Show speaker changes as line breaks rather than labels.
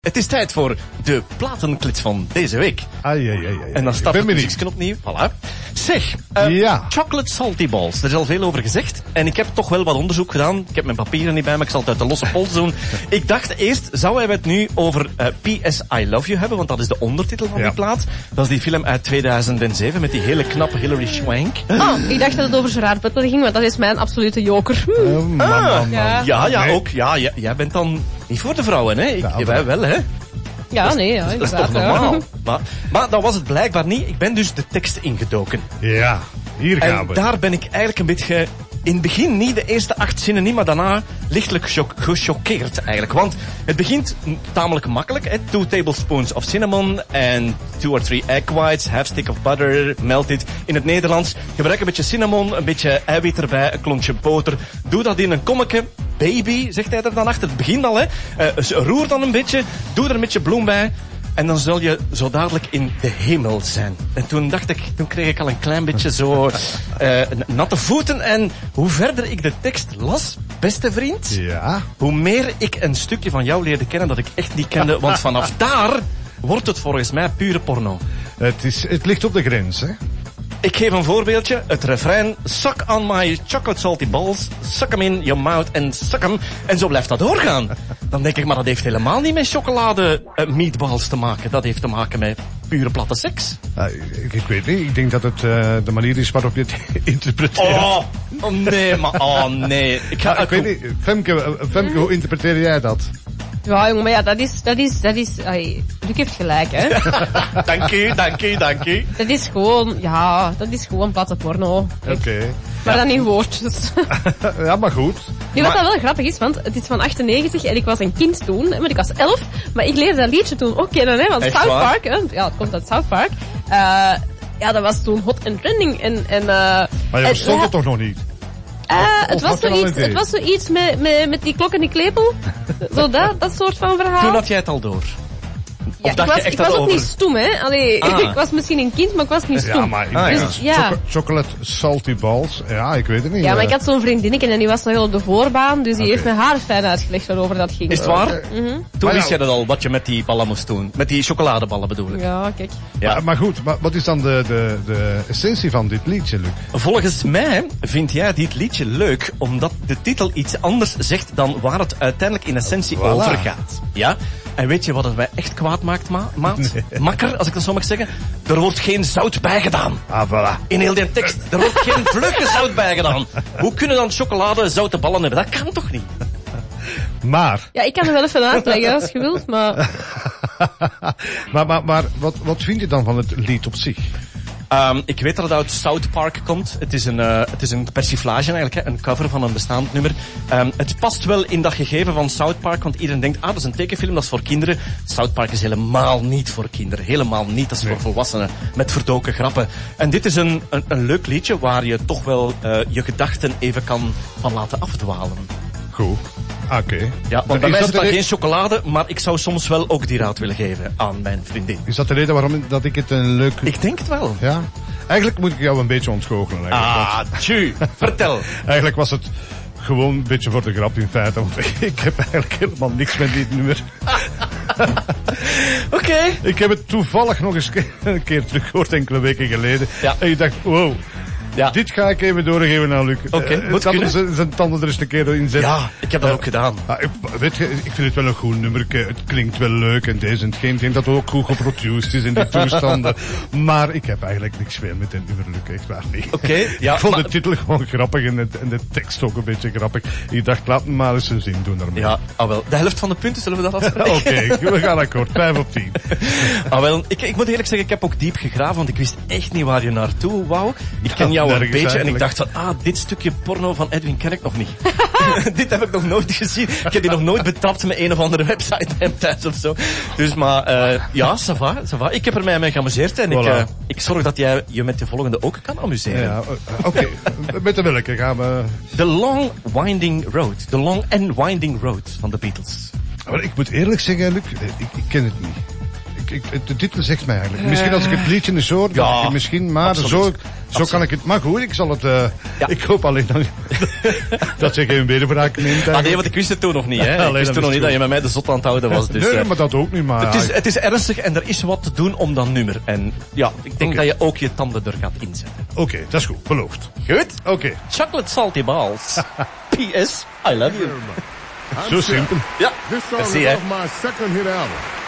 Het is tijd voor de platenklits van deze week.
Ai, ai, ai, ai.
En dan
Ik
staat
ben
het
benieuwd.
muziekje opnieuw. Voilà. Zeg, eh,
Ja.
chocolate salty balls. Er is al veel over gezegd. En ik heb toch wel wat onderzoek gedaan. Ik heb mijn papieren niet bij me. Ik zal het uit de losse pols doen. ik dacht eerst, zouden we het nu over eh, PS I Love You hebben? Want dat is de ondertitel van
Ja.
die plaat. Dat is die film uit 2007 met die hele knappe Hilary Swank.
Oh, ik dacht dat het over Gerard Butler ging, want dat is mijn absolute joker. Hm.
Eh, man, man, man.
Ja.
Ja, ja,
Nee.
ook. Ja, ja, jij bent dan niet voor de vrouwen, hè? Ik,
Ja,
wij wel, hè?
Ja, nee, ja,
Dat is toch
inderdaad. ja.
normaal? Maar, maar dat was het blijkbaar niet. Ik ben dus de tekst ingedoken.
Ja, hier gaan
En
we.
daar ben ik eigenlijk een beetje... In het begin niet, de eerste acht zinnen niet, maar daarna lichtelijk choc- gechoqueerd eigenlijk. Want het begint n- tamelijk makkelijk. Hè? Two tablespoons of cinnamon and two or three egg whites, half stick of butter, melted. In het Nederlands gebruik een beetje cinnamon, een beetje eiwit erbij, een klontje boter. Doe dat in een kommetje. Baby, zegt hij er dan achter. Het begint al, hè. Eh, dus roer dan een beetje, doe er een beetje bloem bij. En dan zul je zo dadelijk in de hemel zijn. En toen dacht ik, toen kreeg ik al een klein beetje zo eh, n- natte voeten. En hoe verder ik de tekst las, beste vriend,
Ja.
hoe meer ik een stukje van jou leerde kennen dat ik echt niet kende. Want vanaf daar wordt het volgens mij pure porno.
Het, is, het ligt op de grens, hè?
Ik geef een voorbeeldje. Het refrein. Suck on my chocolate salty balls. Suck 'em in your mouth and suck 'em. En zo blijft dat doorgaan. Dan denk ik, maar dat heeft helemaal niet met chocolade eh, meatballs te maken. Dat heeft te maken met pure platte seks.
Ah, ik, ik weet niet. Ik denk dat het eh, de manier is waarop je het interpreteert.
Oh, oh nee, maar oh nee. Ik ga
Ah, ik weet niet. Femke, eh, Femke, hoe interpreteer jij dat?
Ja, jongen, maar ja, dat is, dat is, dat is, ai, Luc heeft gelijk, hè.
Dank u, dank u, dank u.
dat is gewoon, ja, dat is gewoon platte porno.
Oké.
Maar dan in woordjes.
Ja, maar goed.
Nu, wat dat wel grappig is, want het is van 98 en ik was een kind toen, hè, maar ik was 11. Maar ik leerde dat liedje toen ook kennen, hè, want
Echt
South
waar?
Park, hè, ja, het komt uit South Park. Eh ja, dat was toen hot en trending en, en, eh
Maar je
en-
verstond
ja,
het toch nog niet?
Eh, het,
Of
was
had je al
zoiets,
een idee?
het was zoiets met, met, met die klok en die klepel. Zo dat, dat soort van verhaal.
Toen had jij het al door.
ja,
of dacht
ik was,
je echt
ik
dat
was ook
over-
niet stom, hè. Allee,
Ah.
ik was misschien een kind, maar ik was niet stom.
Ja, maar ik
Ah,
denk
ja.
dat
Dus, Ja.
choco- chocolate salty balls. Ja, ik weet het niet.
Ja, maar
eh.
ik had zo'n vriendinnetje en die was nog heel op de voorbaan, dus die
Oké.
heeft me haar fijn uitgelegd waarover dat ging.
Is het waar? Toen
Eh, Maar
wist
ja.
jij dat al, wat je met die ballen moest doen. Met die chocoladeballen bedoel ik.
Ja, kijk.
Ja.
Maar, maar goed, maar wat is dan de, de, de essentie van dit liedje, Luc?
Volgens mij vind jij dit liedje leuk omdat de titel iets anders zegt dan waar het uiteindelijk in essentie
Voilà.
over gaat. Ja? En weet je wat het mij echt kwaad maakt, ma maat? Makker, als ik dat zo mag zeggen. Er wordt geen zout bij gedaan.
Ah, voilà.
In heel die tekst. Er wordt geen vlugge zout bij gedaan. Hoe kunnen dan chocolade zoute ballen hebben? Dat kan toch niet?
Maar,
Ja, ik kan er wel even uitleggen als je wilt, maar...
maar, maar, maar wat, wat vind je dan van het lied op zich?
Ehm, ik weet dat het uit South Park komt. Het is een, eh, het is een persiflage eigenlijk, hè, een cover van een bestaand nummer. Ehm, het past wel in dat gegeven van South Park, want iedereen denkt, ah, dat is een tekenfilm, dat is voor kinderen. South Park is helemaal niet voor kinderen. Helemaal niet, dat is voor volwassenen, met verdoken grappen. En dit is een, een, een leuk liedje waar je toch wel eh, je gedachten even kan van laten afdwalen.
Goed. Ah, Oké.
Ja,
Maar
want bij mij
is dat
zit
de
daar
re-
geen chocolade, maar ik zou soms wel ook die raad willen geven aan mijn vriendin.
Is dat de reden waarom dat ik het een leuk...
Ik denk het wel.
Ja? Eigenlijk moet ik jou een beetje ontgoochelen. Eigenlijk.
Ah, tju, vertel.
eigenlijk was het gewoon een beetje voor de grap in feite. Want ik heb eigenlijk helemaal niks met dit nummer.
Oké.
Ik heb het toevallig nog eens ke- een keer teruggehoord enkele weken geleden.
Ja.
En ik dacht, wow.
Ja.
Dit ga ik even doorgeven aan Luc.
Oké,
Eh,
moet
kan
kunnen.
Zijn, zijn tanden er eens een keer in zetten.
Ja, Eh, ik heb dat ook gedaan.
Ah, ik- weet je, ik vind het wel een goed nummer. Het klinkt wel leuk en deze en hetgeen. Ik denk dat het ook goed geproduced is in die toestanden. maar ik heb eigenlijk niks meer met dit nummer, Luc. Echt waar niet.
Oké, ja,
ik vond
maar-
de titel gewoon grappig en, het- en de tekst ook een beetje grappig. Ik dacht, laat me maar eens een zin doen daarmee.
Ja, ah wel. De helft van de punten zullen we dat afspreken.
Oké, we gaan akkoord. 5 op 10.
Ah wel, ik, ik moet eerlijk zeggen, ik heb ook diep gegraven, want ik wist echt niet waar je naartoe wou. Ik ken jou een
nergens
beetje en ik
eigenlijk.
dacht van, ah, dit stukje porno van Edwin ken ik nog niet. dit heb ik nog nooit gezien. Ik heb die nog nooit betrapt met een of andere website hem thuis of zo. Dus maar, eh, ja, ça va, ça va. Ik heb er mij mee geamuseerd en ik,
Voilà.
eh, ik zorg dat jij je met de volgende ook kan amuseren.
Ja, Eh, oké. Met de welke gaan we...
The Long Winding Road. The Long and Winding Road van de Beatles.
Maar ik moet eerlijk zeggen, Luc, eh, ik, ik ken het niet. Ik ik, ik, het- de titel zegt mij eigenlijk. Misschien als ik het liedje eens hoor,
Eh. Ja,
dacht ik misschien, maar
absoluut.
zo, zo
Absoluut.
kan ik het. Maar goed, ik zal het. eh,
Ja.
Ik hoop alleen dat, dat ze geen wederbraak neemt.
Ah,
eigenlijk.
nee, want ik wist het toen nog niet. Hè.
Allee,
ik wist
dat
toen nog
is
niet dat je met mij de zot aan het houden was. Dus,
nee,
eh,
maar dat ook niet, maar.
het, is, het is ernstig en er is wat te doen om dat nummer. En ja, ik denk
Oké.
dat je ook je tanden er gaat inzetten.
Oké, dat is goed, beloofd.
Goed?
Oké,
Chocolate salty balls. P.S. I love you.
zo simpel.
Ja,
This song
dat
is
zie je.
off my second hit album.